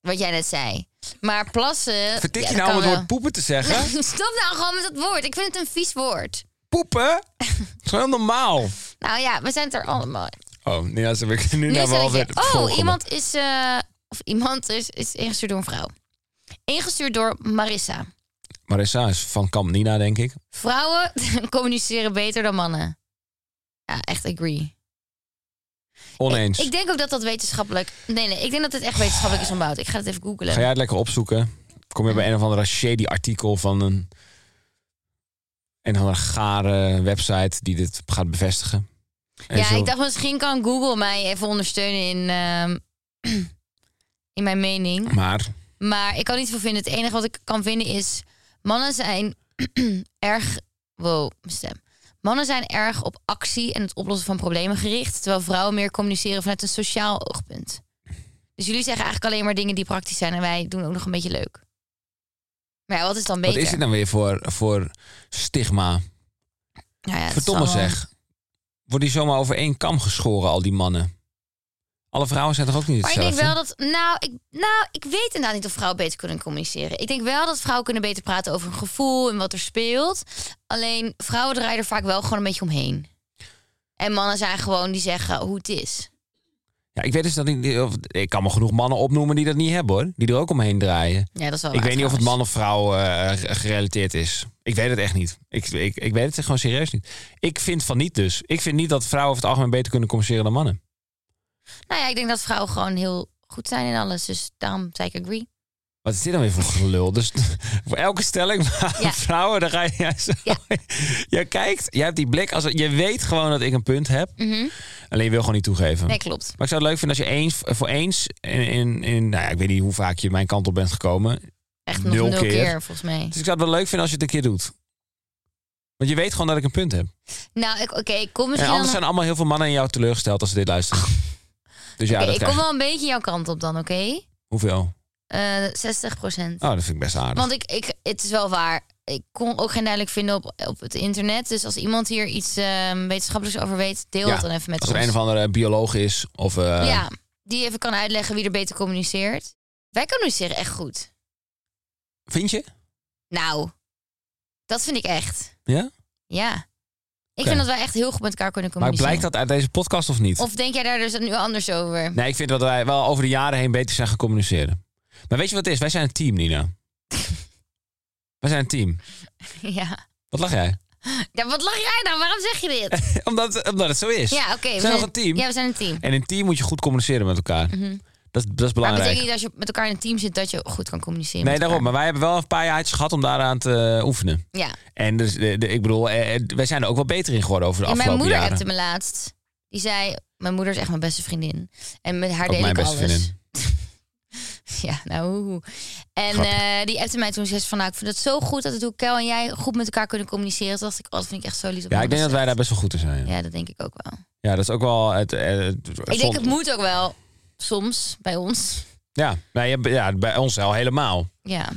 Speaker 3: wat jij net zei. Maar plassen.
Speaker 2: Vertik
Speaker 3: ja,
Speaker 2: je
Speaker 3: dat
Speaker 2: nou om
Speaker 3: kan
Speaker 2: het
Speaker 3: wel.
Speaker 2: woord poepen te zeggen?
Speaker 3: Stop nou gewoon met dat woord. Ik vind het een vies woord.
Speaker 2: Poepen? Dat is gewoon heel normaal.
Speaker 3: Nou ja, we zijn het er allemaal.
Speaker 2: Oh, nee, dat heb ik nu
Speaker 3: Nu
Speaker 2: naar
Speaker 3: is er
Speaker 2: wel
Speaker 3: dat je-
Speaker 2: weer. het volgende.
Speaker 3: oh, iemand is, eh, of iemand is, is ingestuurd door een vrouw. Ingestuurd door Marissa.
Speaker 2: Marissa is van Kamp Nina, denk ik.
Speaker 3: Vrouwen communiceren beter dan mannen. Ja, echt agree.
Speaker 2: Oneens.
Speaker 3: Ik denk ook dat dat wetenschappelijk... Nee, nee, ik denk dat het echt wetenschappelijk is ontbouwd. Ik ga het even googlen.
Speaker 2: Ga jij het lekker opzoeken? Kom je bij een of andere shady artikel van een. een of andere gare website die dit gaat bevestigen? En
Speaker 3: Ja,
Speaker 2: zo-
Speaker 3: ik dacht misschien kan Google mij even ondersteunen in, ehm, in mijn mening.
Speaker 2: Maar
Speaker 3: Maar ik kan niet veel vinden. Het enige wat ik kan vinden is... Mannen zijn erg... Wow, mijn stem. Mannen zijn erg op actie en het oplossen van problemen gericht. Terwijl vrouwen meer communiceren vanuit een sociaal oogpunt. Dus jullie zeggen eigenlijk alleen maar dingen die praktisch zijn. En wij doen ook nog een beetje leuk. Maar ja, wat is dan beter?
Speaker 2: wat is dit nou weer voor, voor stigma?
Speaker 3: Nou ja, het is
Speaker 2: Verdomme
Speaker 3: allemaal-
Speaker 2: zeg. Wordt die zomaar over één kam geschoren, al die mannen? Alle vrouwen zijn toch ook niet
Speaker 3: Maar
Speaker 2: hetzelfde?
Speaker 3: ik denk wel dat. Nou ik, nou, ik weet inderdaad niet of vrouwen beter kunnen communiceren. Ik denk wel dat vrouwen kunnen beter praten over hun gevoel en wat er speelt. Alleen vrouwen draaien er vaak wel gewoon een beetje omheen. En mannen zijn gewoon die zeggen hoe het is.
Speaker 2: Ja, ik weet dus dat ik, of, ik kan me genoeg mannen opnoemen die dat niet hebben hoor. Die er ook omheen draaien.
Speaker 3: Ja, dat is wel.
Speaker 2: ik
Speaker 3: waar
Speaker 2: weet niet of het
Speaker 3: trouwens.
Speaker 2: man of vrouw eh, g- gerelateerd is. Ik weet het echt niet. Ik, ik, ik weet het gewoon serieus niet. Ik vind van niet dus. Ik vind niet dat vrouwen over het algemeen beter kunnen communiceren dan mannen.
Speaker 3: Nou ja, ik denk dat vrouwen gewoon heel goed zijn in alles. Dus daarom zei ik agree.
Speaker 2: Wat is dit dan weer voor gelul? Dus voor elke stelling van
Speaker 3: Ja.
Speaker 2: vrouwen, dan ga je juist zo-
Speaker 3: Ja.
Speaker 2: Je kijkt, jij hebt die blik. Als, je weet gewoon dat ik een punt heb.
Speaker 3: Mhm.
Speaker 2: Alleen je wil gewoon niet toegeven.
Speaker 3: Nee, klopt.
Speaker 2: Maar ik zou het leuk vinden als je eens, voor eens... In, in, in, nou ja, ik weet niet hoe vaak je mijn kant op bent gekomen.
Speaker 3: Echt nog
Speaker 2: Nul
Speaker 3: nul,
Speaker 2: keer.
Speaker 3: keer. volgens mij.
Speaker 2: Dus ik zou het wel leuk vinden als je het een keer doet. Want je weet gewoon dat ik een punt heb.
Speaker 3: Nou, ik- oké, ik kom
Speaker 2: En
Speaker 3: misschien.
Speaker 2: anders
Speaker 3: dan-
Speaker 2: zijn allemaal heel veel mannen in jou teleurgesteld als ze dit luisteren. Dus ja,
Speaker 3: Oké,
Speaker 2: dat
Speaker 3: ik
Speaker 2: krijg
Speaker 3: kom
Speaker 2: je.
Speaker 3: wel een beetje jouw kant op dan, oké?
Speaker 2: Hoeveel?
Speaker 3: Eh 60 procent.
Speaker 2: Oh, dat vind ik best aardig.
Speaker 3: Want ik, ik, het is wel waar. Ik kon ook geen duidelijk vinden op, op het internet. Dus als iemand hier iets ehm, wetenschappelijks over weet, deel
Speaker 2: Ja,
Speaker 3: het dan even met
Speaker 2: als
Speaker 3: ons.
Speaker 2: er een of andere bioloog is of... eh,
Speaker 3: Ja, die even kan uitleggen wie er beter communiceert. Wij communiceren echt goed.
Speaker 2: Vind je?
Speaker 3: Nou, dat vind ik echt.
Speaker 2: Ja?
Speaker 3: Ja. Ik
Speaker 2: Oké.
Speaker 3: vind dat wij echt heel goed met elkaar kunnen
Speaker 2: Maar
Speaker 3: communiceren.
Speaker 2: blijkt dat uit deze podcast of niet?
Speaker 3: Of denk jij daar dus nu anders over?
Speaker 2: Nee, ik vind dat wij wel over de jaren heen beter zijn gaan communiceren. Maar weet je wat het is? Wij zijn een team, Nina. wij zijn een team.
Speaker 3: Ja.
Speaker 2: Wat lach jij?
Speaker 3: ja. Wat lach jij nou? Waarom zeg je dit?
Speaker 2: omdat, omdat het zo is.
Speaker 3: Ja, oké.
Speaker 2: we
Speaker 3: we
Speaker 2: zijn nog een team.
Speaker 3: Ja, we zijn een team.
Speaker 2: En in team moet je goed communiceren met elkaar. dat, is- dat is
Speaker 3: Maar het
Speaker 2: belangrijk.
Speaker 3: betekent niet dat als je met elkaar in een team zit dat je goed kan communiceren.
Speaker 2: Nee,
Speaker 3: met
Speaker 2: daarom. Maar
Speaker 3: elkaar.
Speaker 2: wij hebben wel een paar jaartjes gehad om daaraan te eh, oefenen.
Speaker 3: Ja.
Speaker 2: En dus, eh, de- ik bedoel, eh, eh, wij zijn er ook wel beter in geworden over de
Speaker 3: Ja, mijn
Speaker 2: afgelopen
Speaker 3: moeder
Speaker 2: jaren.
Speaker 3: appte me laatst. Die zei, mijn moeder is echt mijn beste vriendin. En met haar
Speaker 2: Ook
Speaker 3: deed
Speaker 2: mijn
Speaker 3: ik
Speaker 2: beste
Speaker 3: alles.
Speaker 2: vriendin.
Speaker 3: Ja, nou. hoe, hoe. En
Speaker 2: Grappig.
Speaker 3: eh, die appte mij toen ze zei van nou, ik vind het zo goed dat het hoe Kel en jij goed met elkaar kunnen communiceren. Toen dacht ik, oh, dat vind ik echt zo lief.
Speaker 2: Ja, ik denk dat wij daar
Speaker 3: hebben.
Speaker 2: best wel goed in zijn. Ja,
Speaker 3: Ja, dat denk ik ook wel.
Speaker 2: dat is ook wel het. eh, het-
Speaker 3: Ik denk
Speaker 2: zon-
Speaker 3: het moet ook wel soms bij ons.
Speaker 2: Ja, wij hebben- ja, bij ons al helemaal.
Speaker 3: Ja.
Speaker 2: Dat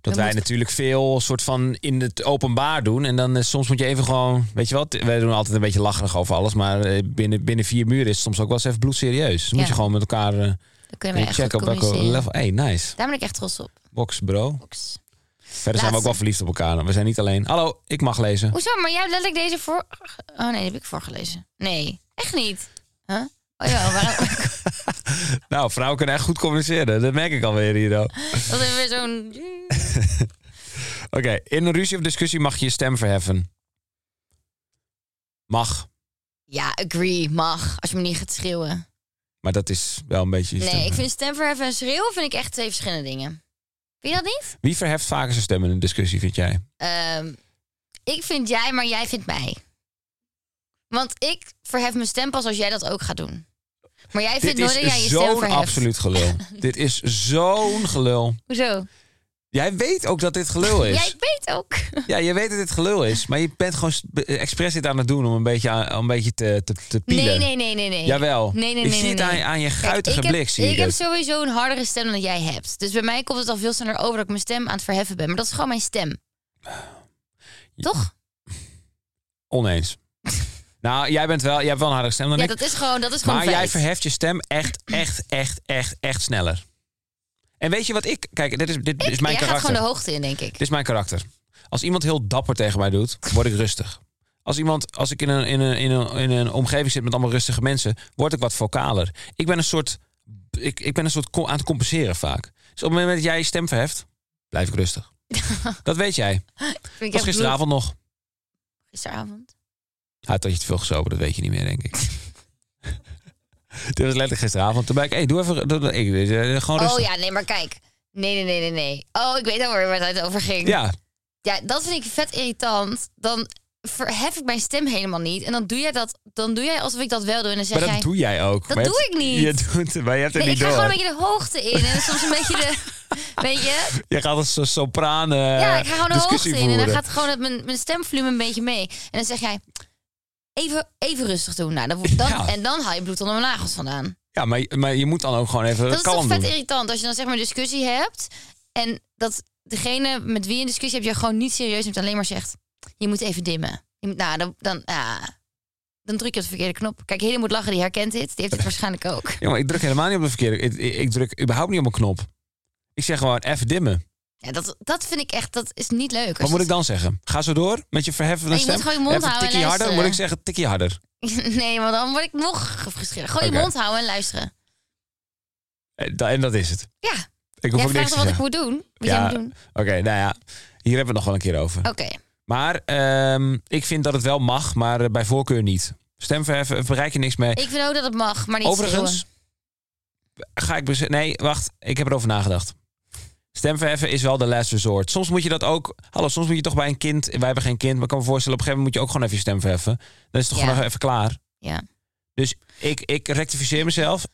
Speaker 3: Dan
Speaker 2: wij
Speaker 3: moet-
Speaker 2: natuurlijk veel soort van in het openbaar doen. En dan eh, soms moet je even gewoon. Weet je wat? Wij doen altijd een beetje lacherig over alles. Maar eh, binnen, binnen vier muren is het soms ook wel eens even bloedserieus. Dus moet
Speaker 3: Ja.
Speaker 2: je gewoon met elkaar eh,
Speaker 3: Dan kunnen we echt goed
Speaker 2: checken op welke
Speaker 3: communiceren.
Speaker 2: level. Hey, nice.
Speaker 3: Daar ben ik echt trots op.
Speaker 2: Box, bro.
Speaker 3: Box.
Speaker 2: Verder zijn we ook wel verliefd op elkaar. We zijn niet alleen. Hallo, ik mag lezen.
Speaker 3: Hoezo? Maar jij hebt letterlijk deze voor... Oh nee, die heb ik voorgelezen. Nee, echt niet. Huh? Oh ja, waarom...
Speaker 2: Nou, vrouwen kunnen echt goed communiceren. Dat merk ik alweer hier. Oké,
Speaker 3: dat is weer zo'n...
Speaker 2: in een ruzie of discussie mag je je stem verheffen. Mag,
Speaker 3: Ja, agree, mag. Als je me niet gaat schreeuwen.
Speaker 2: maar dat is wel een beetje. je stem
Speaker 3: Nee, ik
Speaker 2: verheffen.
Speaker 3: vind stemverheffen en schreeuwen vind ik echt twee verschillende dingen. Vind je dat niet?
Speaker 2: Wie verheft vaker zijn stem in een discussie, vind jij?
Speaker 3: Ehm, ik vind jij, maar jij vindt mij. Want ik verhef mijn stem pas als jij dat ook gaat doen. Maar jij vindt nooit
Speaker 2: Dit
Speaker 3: dat jij je
Speaker 2: is
Speaker 3: stem
Speaker 2: zo'n
Speaker 3: verheft.
Speaker 2: absoluut gelul. dit is zo'n gelul.
Speaker 3: Hoezo?
Speaker 2: Jij weet ook dat dit gelul is.
Speaker 3: Jij weet ook.
Speaker 2: Ja, je weet dat dit gelul is. Maar je bent gewoon s- be- expres dit aan het doen om een beetje, aan- om een beetje te, te, te pielen.
Speaker 3: Nee, nee, nee, nee, nee.
Speaker 2: Jawel.
Speaker 3: Nee, nee,
Speaker 2: ik
Speaker 3: nee,
Speaker 2: zie
Speaker 3: nee,
Speaker 2: het
Speaker 3: nee.
Speaker 2: aan, aan je
Speaker 3: Kijk,
Speaker 2: guitige
Speaker 3: ik heb-
Speaker 2: blik. Zie
Speaker 3: ik
Speaker 2: ik
Speaker 3: heb
Speaker 2: het.
Speaker 3: sowieso een hardere stem dan jij hebt. Dus bij mij komt het al veel sneller over dat ik mijn stem aan het verheffen ben. Maar dat is gewoon mijn stem. Toch?
Speaker 2: Oneens. nou, jij bent wel, jij hebt wel een harde stem dan
Speaker 3: Ja,
Speaker 2: ik.
Speaker 3: dat is gewoon, dat is gewoon
Speaker 2: maar jij
Speaker 3: feit.
Speaker 2: verheft je stem echt, echt, echt, echt, echt sneller. En weet je wat ik... Kijk, dit is, dit is mijn
Speaker 3: jij gaat
Speaker 2: karakter.
Speaker 3: gewoon de hoogte in, denk ik.
Speaker 2: Dit is mijn karakter. Als iemand heel dapper tegen mij doet, word ik rustig. Als, iemand, als ik in een, in, een, in, een, in een omgeving zit met allemaal rustige mensen, word ik wat vocaler. Ik ben een soort, ik, ik ben een soort co- aan het compenseren vaak. Dus op het moment dat jij je stem verheft, blijf ik rustig. dat weet jij.
Speaker 3: Vind
Speaker 2: was
Speaker 3: ik echt
Speaker 2: gisteravond nog.
Speaker 3: bloed. Gisteravond.
Speaker 2: Hij had je te veel gesopen, dat weet je niet meer, denk ik. Dit was letterlijk gisteravond. Toen ben ik, hey, doe even, doe- doe- ik, eh, gewoon
Speaker 3: Oh
Speaker 2: rustig.
Speaker 3: ja, nee, maar kijk. Nee, nee, nee, nee, nee. Oh, ik weet alweer waar het over ging.
Speaker 2: ja,
Speaker 3: Ja, dat vind ik vet irritant. Dan verhef ik mijn stem helemaal niet. En dan doe jij dat, dan doe jij alsof ik dat wel doe. En dan zeg
Speaker 2: maar dat
Speaker 3: jij...
Speaker 2: doe jij ook.
Speaker 3: Dat
Speaker 2: Maar je
Speaker 3: doe
Speaker 2: hebt-
Speaker 3: ik niet.
Speaker 2: Je doet, het, maar je hebt het
Speaker 3: nee, ik
Speaker 2: niet
Speaker 3: ga
Speaker 2: door.
Speaker 3: gewoon een beetje de hoogte in. En soms een beetje de... Weet je?
Speaker 2: Je gaat als een sopraan eh,
Speaker 3: Ja, ik ga gewoon de hoogte
Speaker 2: discussie
Speaker 3: in. En
Speaker 2: voeren.
Speaker 3: dan gaat gewoon het- mijn, mijn stemvolume een beetje mee. En dan zeg jij, even, even rustig doen. Nou, dan, dan,
Speaker 2: Ja.
Speaker 3: En dan haal je bloed onder mijn nagels vandaan.
Speaker 2: Ja, maar, je- maar je moet dan ook gewoon even
Speaker 3: Dat is toch
Speaker 2: Eh, kalm
Speaker 3: vet
Speaker 2: doen.
Speaker 3: irritant als je dan zeg maar een discussie hebt. En dat degene met wie je een discussie hebt, je gewoon niet serieus neemt. Alleen maar zegt, je moet even dimmen. Je moet, nou, dan, dan, ah, dan druk je op de verkeerde knop. Kijk, Helen moet lachen, die herkent dit. Die heeft het waarschijnlijk ook.
Speaker 2: Jongen, ik druk helemaal niet op de verkeerde. Ik, ik, ik druk überhaupt niet op een knop. Ik zeg gewoon even dimmen.
Speaker 3: Ja, dat, dat vind ik echt, dat is niet leuk.
Speaker 2: Wat
Speaker 3: Als
Speaker 2: moet ik
Speaker 3: het-
Speaker 2: dan zeggen? Ga zo door met je verheffende
Speaker 3: Nee, je
Speaker 2: stem.
Speaker 3: moet gewoon je mond
Speaker 2: Even
Speaker 3: houden en
Speaker 2: tikkie harder.
Speaker 3: luisteren.
Speaker 2: Moet ik zeggen tikkie harder.
Speaker 3: Nee, want dan word ik nog gefrustreerd. Gewoon je
Speaker 2: Oké.
Speaker 3: mond houden en luisteren.
Speaker 2: Eh, da- En dat is het.
Speaker 3: Ja,
Speaker 2: Ik hoef
Speaker 3: jij
Speaker 2: ook niks
Speaker 3: vraagt
Speaker 2: te
Speaker 3: wat ik
Speaker 2: zeggen.
Speaker 3: moet doen. Wat jij
Speaker 2: Ja,
Speaker 3: moet doen.
Speaker 2: Oké, nou ja. Hier hebben we het nog wel een keer over.
Speaker 3: Oké.
Speaker 2: Maar ehm, ik vind dat het wel mag, maar eh, bij voorkeur niet. Stemverheffen eh, bereik je niks mee.
Speaker 3: Ik vind ook dat het mag, maar niet
Speaker 2: Overigens,
Speaker 3: schreeuwen.
Speaker 2: ga ik bez- Nee, wacht. Ik heb erover nagedacht. Stemverheffen is wel de last resort. Soms moet je dat ook... Hallo, soms moet je toch bij een kind... Wij hebben geen kind, maar ik kan me voorstellen... op een gegeven moment moet je ook gewoon even je stem verheffen. Dan is het toch
Speaker 3: Ja.
Speaker 2: gewoon even klaar.
Speaker 3: Ja.
Speaker 2: Dus ik, ik rectificeer mezelf.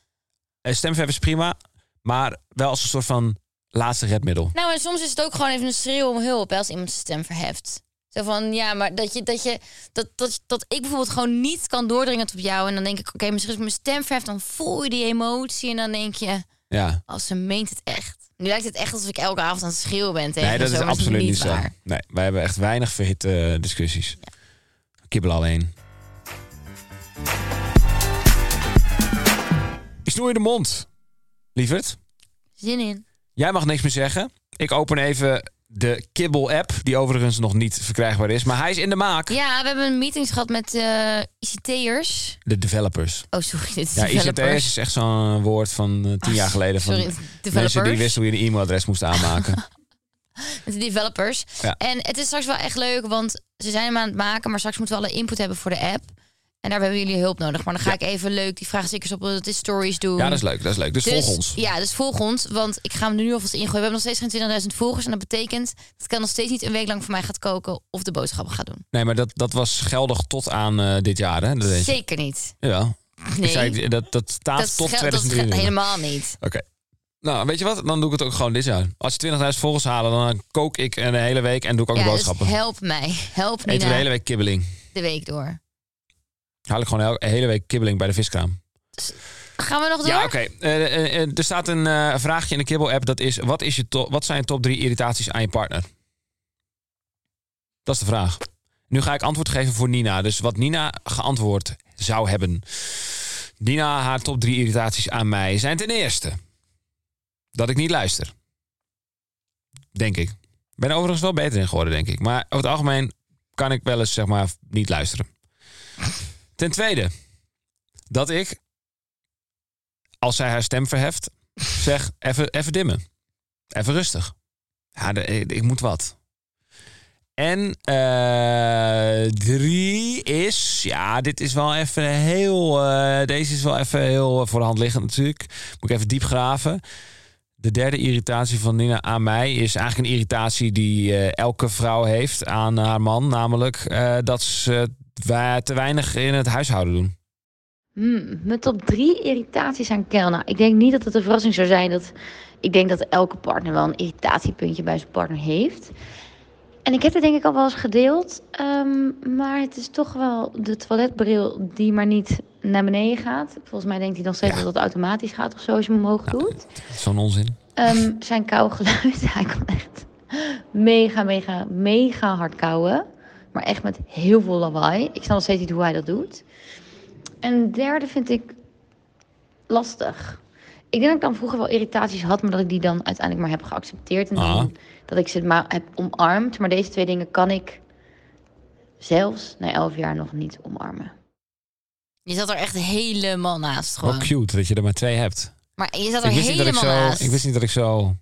Speaker 2: Eh, Stemverheffen is prima, maar wel als een soort van laatste redmiddel.
Speaker 3: Nou, en soms is het ook gewoon even een schreeuw om hulp hè, als iemand zijn stem verheft. Zo van, ja, maar dat, je, dat, je, dat, dat, dat ik bijvoorbeeld gewoon niet kan doordringen tot op jou. En dan denk ik, oké, misschien is mijn stem verheft. Dan voel je die emotie en dan denk je,
Speaker 2: Ja.
Speaker 3: als ze meent het echt. Nu lijkt het echt alsof ik elke avond aan het schreeuwen ben tegen
Speaker 2: Nee, dat
Speaker 3: zo,
Speaker 2: is
Speaker 3: maar
Speaker 2: absoluut niet zo.
Speaker 3: waar.
Speaker 2: Nee, wij hebben echt weinig verhitte eh, discussies. Kibbel alleen. Ik snoer je de mond, lieverd.
Speaker 3: Zin in.
Speaker 2: Jij mag niks meer zeggen. Ik open even de Kibbel-app, die overigens nog niet verkrijgbaar is. Maar hij is in de maak.
Speaker 3: Ja, we hebben een meeting gehad met eh ICT'ers.
Speaker 2: De developers.
Speaker 3: Oh, sorry, dit is
Speaker 2: Ja, ICTS
Speaker 3: developers.
Speaker 2: is echt zo'n woord van eh, tien jaar geleden. Van
Speaker 3: Sorry,
Speaker 2: mensen die
Speaker 3: developers.
Speaker 2: wisten hoe je een e-mailadres moest aanmaken.
Speaker 3: Met de developers.
Speaker 2: Ja.
Speaker 3: En het is straks wel echt leuk, want ze zijn hem aan het maken, maar straks moeten we alle input hebben voor de app. En daar hebben jullie hulp nodig. Maar dan ga ik even leuk die vraagstickers op de stories doen.
Speaker 2: ja, dat is leuk. Dat is leuk. Dus, volg ons.
Speaker 3: Ja, dus volg ons, want ik ga hem er nu alvast ingooien. We hebben nog steeds geen 20.000 volgers en dat betekent dat ik nog steeds niet een week lang voor mij gaat koken of de boodschappen gaat doen.
Speaker 2: Nee, maar dat, dat was geldig tot aan eh, dit jaar, hè? Dat weet je.
Speaker 3: Zeker niet.
Speaker 2: Ja.
Speaker 3: Nee,
Speaker 2: Ik zei, Dus dat, dat staat
Speaker 3: dat,
Speaker 2: tot
Speaker 3: geld- dat
Speaker 2: 2023.
Speaker 3: helemaal niet.
Speaker 2: Oké. Nou, weet je wat? Dan doe ik het ook gewoon dit jaar. Als je 20.000 volgers halen, dan kook ik een hele week en doe ik ook
Speaker 3: ja,
Speaker 2: de
Speaker 3: dus
Speaker 2: boodschappen.
Speaker 3: help mij. Help
Speaker 2: Eten
Speaker 3: Nina
Speaker 2: we de hele week kibbeling.
Speaker 3: door.
Speaker 2: Haal ik gewoon de hele week kibbeling bij de viskraam.
Speaker 3: Gaan we nog door?
Speaker 2: Ja, oké. Eh, eh, eh, er staat een eh, vraagje in de kibbel-app. Dat is, wat, is je to- wat zijn je top drie irritaties aan je partner? Dat is de vraag. Nu ga ik antwoord geven voor Nina. Dus wat Nina geantwoord zou hebben. Nina, haar top drie irritaties aan mij zijn ten eerste... dat ik niet luister. Denk ik. Ik ben er overigens wel beter in geworden, denk ik. Maar over het algemeen kan ik wel eens, zeg maar, niet luisteren. Ten tweede, dat ik als zij haar stem verheft, zeg even, even dimmen. Even rustig. Ja, de- ik, ik moet wat. En eh, drie is, ja, dit is wel even heel, eh, deze is wel even heel eh, voor de hand liggend natuurlijk. Moet ik even diep graven. De derde irritatie van Nina aan mij is eigenlijk een irritatie die eh, elke vrouw heeft aan haar man. Namelijk eh, dat ze eh, te weinig in het huishouden doen.
Speaker 6: Hmm, mijn top drie irritaties aan Kel. Nou, ik denk niet dat het een verrassing zou zijn. Dat, ik denk dat elke partner wel een irritatiepuntje bij zijn partner heeft. En ik heb het denk ik al wel eens gedeeld. ehm, maar het is toch wel de toiletbril die maar niet naar beneden gaat. Volgens mij denkt hij nog steeds
Speaker 2: Ja.
Speaker 6: dat dat automatisch gaat of zo als je hem omhoog doet.
Speaker 2: Zo'n onzin.
Speaker 6: Ehm, zijn kauwgeluid, hij kan echt mega, mega, mega hard kauwen. Maar echt met heel veel lawaai. Ik snap nog steeds niet hoe hij dat doet. En een derde vind ik lastig. Ik denk dat ik dan vroeger wel irritaties had, maar dat ik die dan uiteindelijk maar heb geaccepteerd. En dan
Speaker 2: Ah.
Speaker 6: dat ik ze maar heb omarmd. Maar deze twee dingen kan ik zelfs na elf jaar nog niet omarmen.
Speaker 3: Je zat er echt helemaal naast
Speaker 2: Wel
Speaker 3: gewoon.
Speaker 2: cute dat je er maar twee hebt.
Speaker 3: Maar je zat er
Speaker 2: Ik wist, niet dat ik,
Speaker 3: helemaal
Speaker 2: zo,
Speaker 3: naast.
Speaker 2: ik wist niet dat ik zo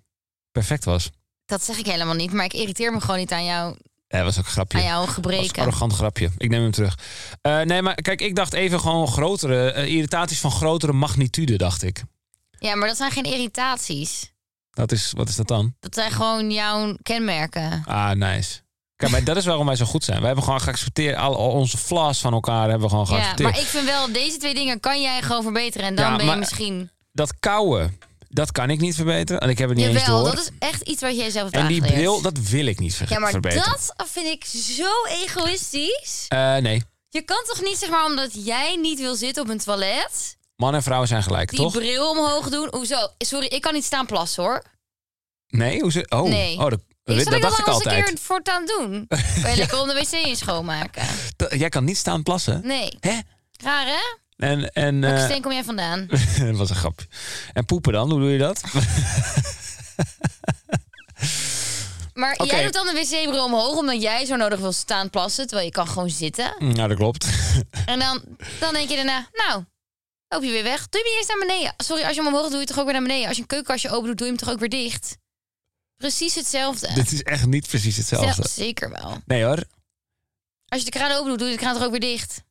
Speaker 2: perfect was.
Speaker 3: Dat zeg ik helemaal niet, maar ik irriteer me gewoon niet aan, jou,
Speaker 2: Ja, dat was ook een grapje.
Speaker 3: aan jouw
Speaker 2: Dat was een
Speaker 3: gebreken.
Speaker 2: arrogant grapje. Ik neem hem terug. Eh, nee, maar kijk, ik dacht even gewoon grotere... eh, irritaties van grotere magnitude, dacht ik.
Speaker 3: Ja, maar dat zijn geen irritaties.
Speaker 2: Dat is, wat is dat dan?
Speaker 3: Dat zijn gewoon jouw kenmerken.
Speaker 2: Ah, nice. Kijk, maar dat is waarom wij zo goed zijn. We hebben gewoon geaccepteerd... Al, al onze flaws van elkaar hebben we gewoon
Speaker 3: Ja,
Speaker 2: geaccepteerd.
Speaker 3: maar ik vind wel, deze twee dingen kan jij gewoon verbeteren. En dan
Speaker 2: Ja,
Speaker 3: ben je
Speaker 2: maar-
Speaker 3: misschien...
Speaker 2: Dat kauwen, dat kan ik niet verbeteren. En ik heb het niet eens
Speaker 3: Jawel,
Speaker 2: door.
Speaker 3: dat is echt iets wat jij zelf hebt
Speaker 2: en die
Speaker 3: aangeleerd.
Speaker 2: bril, dat wil ik niet ver-
Speaker 3: Ja, maar
Speaker 2: verbeteren.
Speaker 3: dat vind ik zo egoïstisch.
Speaker 2: Eh, nee,
Speaker 3: Je kan toch niet, zeg maar, omdat jij niet wil zitten op een toilet...
Speaker 2: man en vrouw zijn gelijk,
Speaker 3: die
Speaker 2: toch?
Speaker 3: bril omhoog doen? Hoezo? Sorry, ik kan niet staan plassen, hoor.
Speaker 2: Nee? Hoe ze... Oh,
Speaker 3: Nee.
Speaker 2: oh dat,
Speaker 3: Ik zal
Speaker 2: dat
Speaker 3: ik
Speaker 2: dacht
Speaker 3: dat dan
Speaker 2: ik
Speaker 3: eens een
Speaker 2: altijd.
Speaker 3: keer voortaan doen. Kan je lekker om de wc in schoonmaken.
Speaker 2: Dat- Jij kan niet staan plassen.
Speaker 3: Nee.
Speaker 2: Hè?
Speaker 3: Raar, hè?
Speaker 2: En, en
Speaker 3: Welke
Speaker 2: eh,
Speaker 3: steen kom jij vandaan?
Speaker 2: dat was een grapje. En poepen dan, hoe doe je dat?
Speaker 3: Maar
Speaker 2: Oké.
Speaker 3: jij doet dan de wc-bril omhoog omdat jij zo nodig wil staan plassen. Terwijl je kan gewoon zitten.
Speaker 2: nou, dat klopt.
Speaker 3: En dan, dan denk je daarna, nou, loop je weer weg. Doe je hem eerst naar beneden. Sorry, als je hem omhoog doet, doe je toch ook weer naar beneden. Als je een keukenkastje open doet, doe je hem toch ook weer dicht. Precies hetzelfde.
Speaker 2: Dit is echt niet precies hetzelfde.
Speaker 3: Zelf- zeker wel.
Speaker 2: Nee hoor.
Speaker 3: Als je de kraan open doet, doe je de kraan toch ook weer dicht.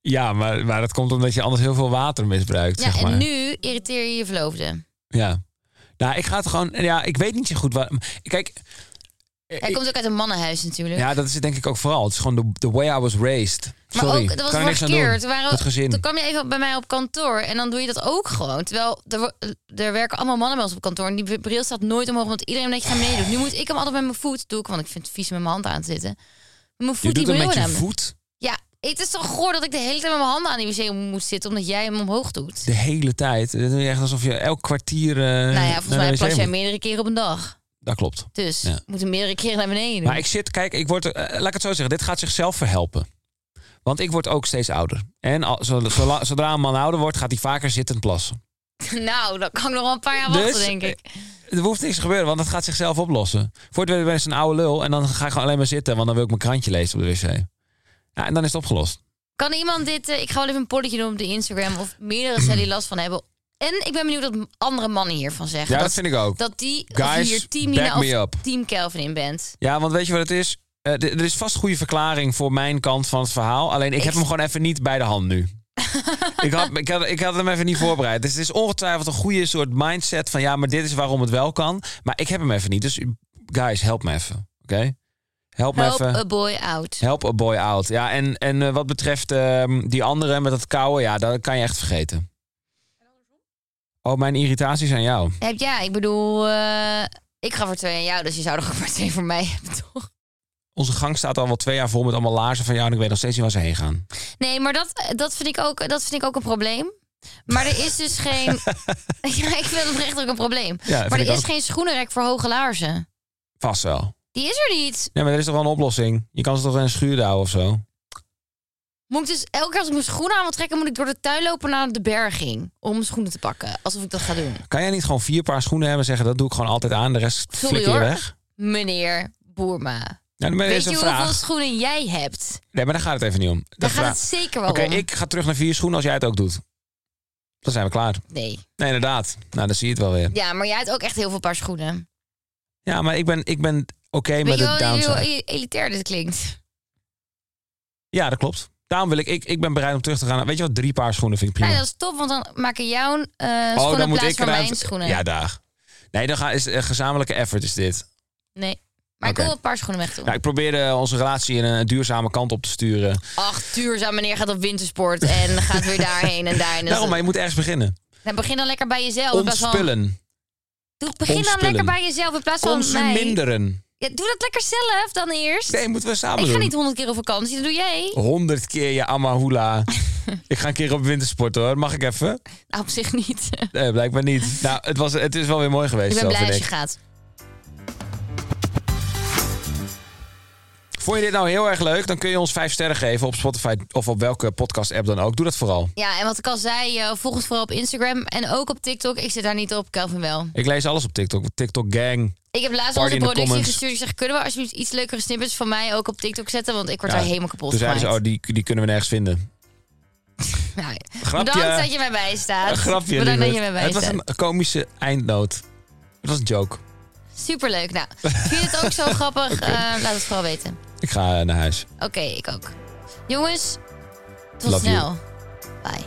Speaker 2: Ja, maar, maar dat komt omdat je anders heel veel water misbruikt.
Speaker 3: Ja,
Speaker 2: zeg maar.
Speaker 3: en nu irriteer je je verloofde.
Speaker 2: Ja. Nou, ik ga het gewoon. Ja, ik weet niet zo goed waar. Kijk. eh,
Speaker 3: Hij
Speaker 2: ik-
Speaker 3: komt ook uit een mannenhuis natuurlijk.
Speaker 2: ja, dat is het denk ik ook vooral. Het is gewoon de, de way I was raised.
Speaker 3: Maar
Speaker 2: Sorry,
Speaker 3: ook, dat was
Speaker 2: kan er niks
Speaker 3: vorige
Speaker 2: aan
Speaker 3: keer.
Speaker 2: doen.
Speaker 3: Toen, waren,
Speaker 2: Het gezin.
Speaker 3: toen kwam je even bij mij op kantoor en dan doe je dat ook gewoon. Terwijl er, wo- er werken allemaal mannen bij ons op kantoor en die bril staat nooit omhoog, want iedereen netjes naar beneden doet. Nu moet ik hem altijd met mijn voet doen, want ik vind het vies met mijn hand aan te zitten. Met Mijn
Speaker 2: Je
Speaker 3: voet die
Speaker 2: doet het
Speaker 3: bril
Speaker 2: met je
Speaker 3: naar me.
Speaker 2: voet
Speaker 3: Ja, het is toch goor dat ik de hele tijd met mijn handen aan die wc moet zitten omdat jij hem omhoog doet.
Speaker 2: de hele tijd. Het is echt alsof je elk kwartier. eh,
Speaker 3: nou ja,
Speaker 2: naar de
Speaker 3: volgens mij
Speaker 2: wc
Speaker 3: plas jij
Speaker 2: moet.
Speaker 3: meerdere keren op een dag.
Speaker 2: Dat klopt.
Speaker 3: Dus
Speaker 2: Ja.
Speaker 3: we moeten meerdere keren naar beneden.
Speaker 2: Maar ik zit, kijk, ik word, eh, laat ik het zo zeggen, dit gaat zichzelf verhelpen. Want ik word ook steeds ouder. En al, zo- zola- zodra een man ouder wordt, gaat hij vaker zittend plassen.
Speaker 3: Nou, dan kan ik nog wel een paar jaar
Speaker 2: Dus
Speaker 3: wachten, denk ik.
Speaker 2: eh, Er hoeft niks te gebeuren, want dat gaat zichzelf oplossen. Voor het weet ben ik een oude lul en dan ga ik gewoon alleen maar zitten, want dan wil ik mijn krantje lezen op de wc. Ja, en dan is het opgelost.
Speaker 3: Kan iemand dit... eh, ik ga wel even een polletje doen op de Instagram... of meerdere cellen die last van hebben. En ik ben benieuwd wat andere mannen hiervan zeggen.
Speaker 2: Ja, dat vind ik ook.
Speaker 3: Dat die of
Speaker 2: Guys,
Speaker 3: je hier Team
Speaker 2: back
Speaker 3: Nina of
Speaker 2: me up.
Speaker 3: Team Kelvin in bent.
Speaker 2: Ja, want weet je wat het is? Eh, d- er is vast goede verklaring voor mijn kant van het verhaal. Alleen ik, heb hem gewoon even niet bij de hand nu. ik, had, ik, had, ik had hem even niet voorbereid. Dus het is ongetwijfeld een goede soort mindset van ja, maar dit is waarom het wel kan. Maar ik heb hem even niet. Dus guys, help me even. Oké? Help me
Speaker 3: Help
Speaker 2: even.
Speaker 3: a boy out.
Speaker 2: Help a boy out. Ja, en, en eh, wat betreft ehm, die andere met dat kouwen, ja, dat kan je echt vergeten. Oh, mijn irritaties aan jou.
Speaker 3: Heb ja, ik bedoel, eh, ik ga voor twee aan jou, dus je zou er ook maar twee voor mij hebben, toch?
Speaker 2: Onze gang staat al wel twee jaar vol met allemaal laarzen van jou. En ik weet nog steeds niet waar ze heen gaan.
Speaker 3: Nee, maar dat, eh, dat, vind ik ook, dat vind ik ook een probleem. Maar er is dus geen. ja, ik vind het echt ook een probleem.
Speaker 2: Ja, dat
Speaker 3: maar
Speaker 2: vind
Speaker 3: er
Speaker 2: ik
Speaker 3: is
Speaker 2: ook.
Speaker 3: geen schoenenrek voor hoge laarzen.
Speaker 2: Vast wel.
Speaker 3: Die is er niet.
Speaker 2: Nee, maar er is toch wel een oplossing? Je kan ze toch in een schuur houden of zo?
Speaker 3: Moet ik dus elke keer als ik mijn schoenen aan wil trekken, moet ik door de tuin lopen naar de berging om mijn schoenen te pakken. Alsof ik dat ga doen.
Speaker 2: Kan jij niet gewoon vier paar schoenen hebben en zeggen... dat doe ik gewoon altijd aan, de rest
Speaker 3: Sorry,
Speaker 2: flikker je
Speaker 3: hoor.
Speaker 2: weg?
Speaker 3: Meneer Boerma.
Speaker 2: Nou, maar er
Speaker 3: Weet
Speaker 2: is
Speaker 3: je
Speaker 2: een
Speaker 3: hoeveel
Speaker 2: vraag.
Speaker 3: schoenen jij hebt?
Speaker 2: Nee, maar daar gaat het even niet om. De
Speaker 3: Daar gaat
Speaker 2: vraag-
Speaker 3: het zeker wel
Speaker 2: Oké,
Speaker 3: om.
Speaker 2: ik ga terug naar vier schoenen als jij het ook doet. Dan zijn we klaar.
Speaker 3: Nee.
Speaker 2: Nee, inderdaad. Nou, dan zie je het wel weer.
Speaker 3: Ja, maar jij hebt ook echt heel veel paar schoenen.
Speaker 2: Ja, maar ik ben, ik ben oké met
Speaker 3: Weet je
Speaker 2: de
Speaker 3: wel
Speaker 2: downside.
Speaker 3: hoe hoe elitair dit klinkt?
Speaker 2: Ja, dat klopt. Daarom wil ik, ik, ik ben bereid om terug te gaan. naar- Weet je wat? Drie paar schoenen vind ik prima.
Speaker 3: Nee, dat is top, want dan maken jouw eh
Speaker 2: oh,
Speaker 3: schoenen
Speaker 2: dan moet
Speaker 3: plaats
Speaker 2: ik
Speaker 3: voor
Speaker 2: eruit-
Speaker 3: mijn schoenen.
Speaker 2: Ja, daar. Nee, dan gaan, is een gezamenlijke effort is dit.
Speaker 3: Nee. Maar ik
Speaker 2: Oké.
Speaker 3: wil wel een paar schoenen weg doen.
Speaker 2: Nou, ik probeerde onze relatie in een eh, duurzame kant op te sturen.
Speaker 3: Ach, duurzaam meneer gaat op wintersport en gaat weer daarheen en daarheen. Dus
Speaker 2: Daarom, maar je moet ergens beginnen.
Speaker 3: dan begin dan lekker bij jezelf. in plaats van-
Speaker 2: Ontspullen.
Speaker 3: Doe, begin dan
Speaker 2: Ontspullen.
Speaker 3: lekker bij jezelf in plaats van mij.
Speaker 2: Consuminderen.
Speaker 3: Ja, doe dat lekker zelf dan eerst.
Speaker 2: Nee, moeten we samen
Speaker 3: ik ga
Speaker 2: doen.
Speaker 3: niet honderd keer op vakantie, dat doe jij.
Speaker 2: Honderd keer je amahula. ik ga een keer op wintersport hoor. Mag ik even?
Speaker 3: Nou, op zich niet.
Speaker 2: Nee, blijkbaar niet. Nou, het, was, het is wel weer mooi geweest.
Speaker 3: ik ben
Speaker 2: zo,
Speaker 3: blij
Speaker 2: vind
Speaker 3: als je
Speaker 2: ik.
Speaker 3: gaat.
Speaker 2: Vond je dit nou heel erg leuk? Dan kun je ons vijf sterren geven op Spotify of op welke podcast app dan ook. Doe dat vooral.
Speaker 3: Ja, en wat ik al zei, eh, volg ons vooral op Instagram en ook op TikTok. Ik zit daar niet op, Kelvin wel.
Speaker 2: Ik lees alles op TikTok. TikTok gang.
Speaker 3: Ik heb laatst
Speaker 2: Party
Speaker 3: onze
Speaker 2: in de
Speaker 3: productie
Speaker 2: comments.
Speaker 3: gestuurd. Ik zeg, kunnen we alsjeblieft iets leukere snippets van mij ook op TikTok zetten? Want ik word
Speaker 2: Ja,
Speaker 3: daar helemaal kapot
Speaker 2: Toen
Speaker 3: gemaakt.
Speaker 2: zeiden ze, oh, die, die kunnen we nergens vinden.
Speaker 3: Nou,
Speaker 2: Grapje.
Speaker 3: bedankt dat je mij bijstaat.
Speaker 2: Een grapje,
Speaker 3: Bedankt dat je
Speaker 2: lieverd.
Speaker 3: mij
Speaker 2: Het was
Speaker 3: bijstaat.
Speaker 2: een komische eindnoot. Het was een joke.
Speaker 3: Superleuk. Nou, vind je het ook zo grappig? Eh, laat het vooral weten.
Speaker 2: Ik ga eh, naar huis.
Speaker 3: Oké, ik ook. Jongens, tot
Speaker 2: Love you.
Speaker 3: snel. Bye.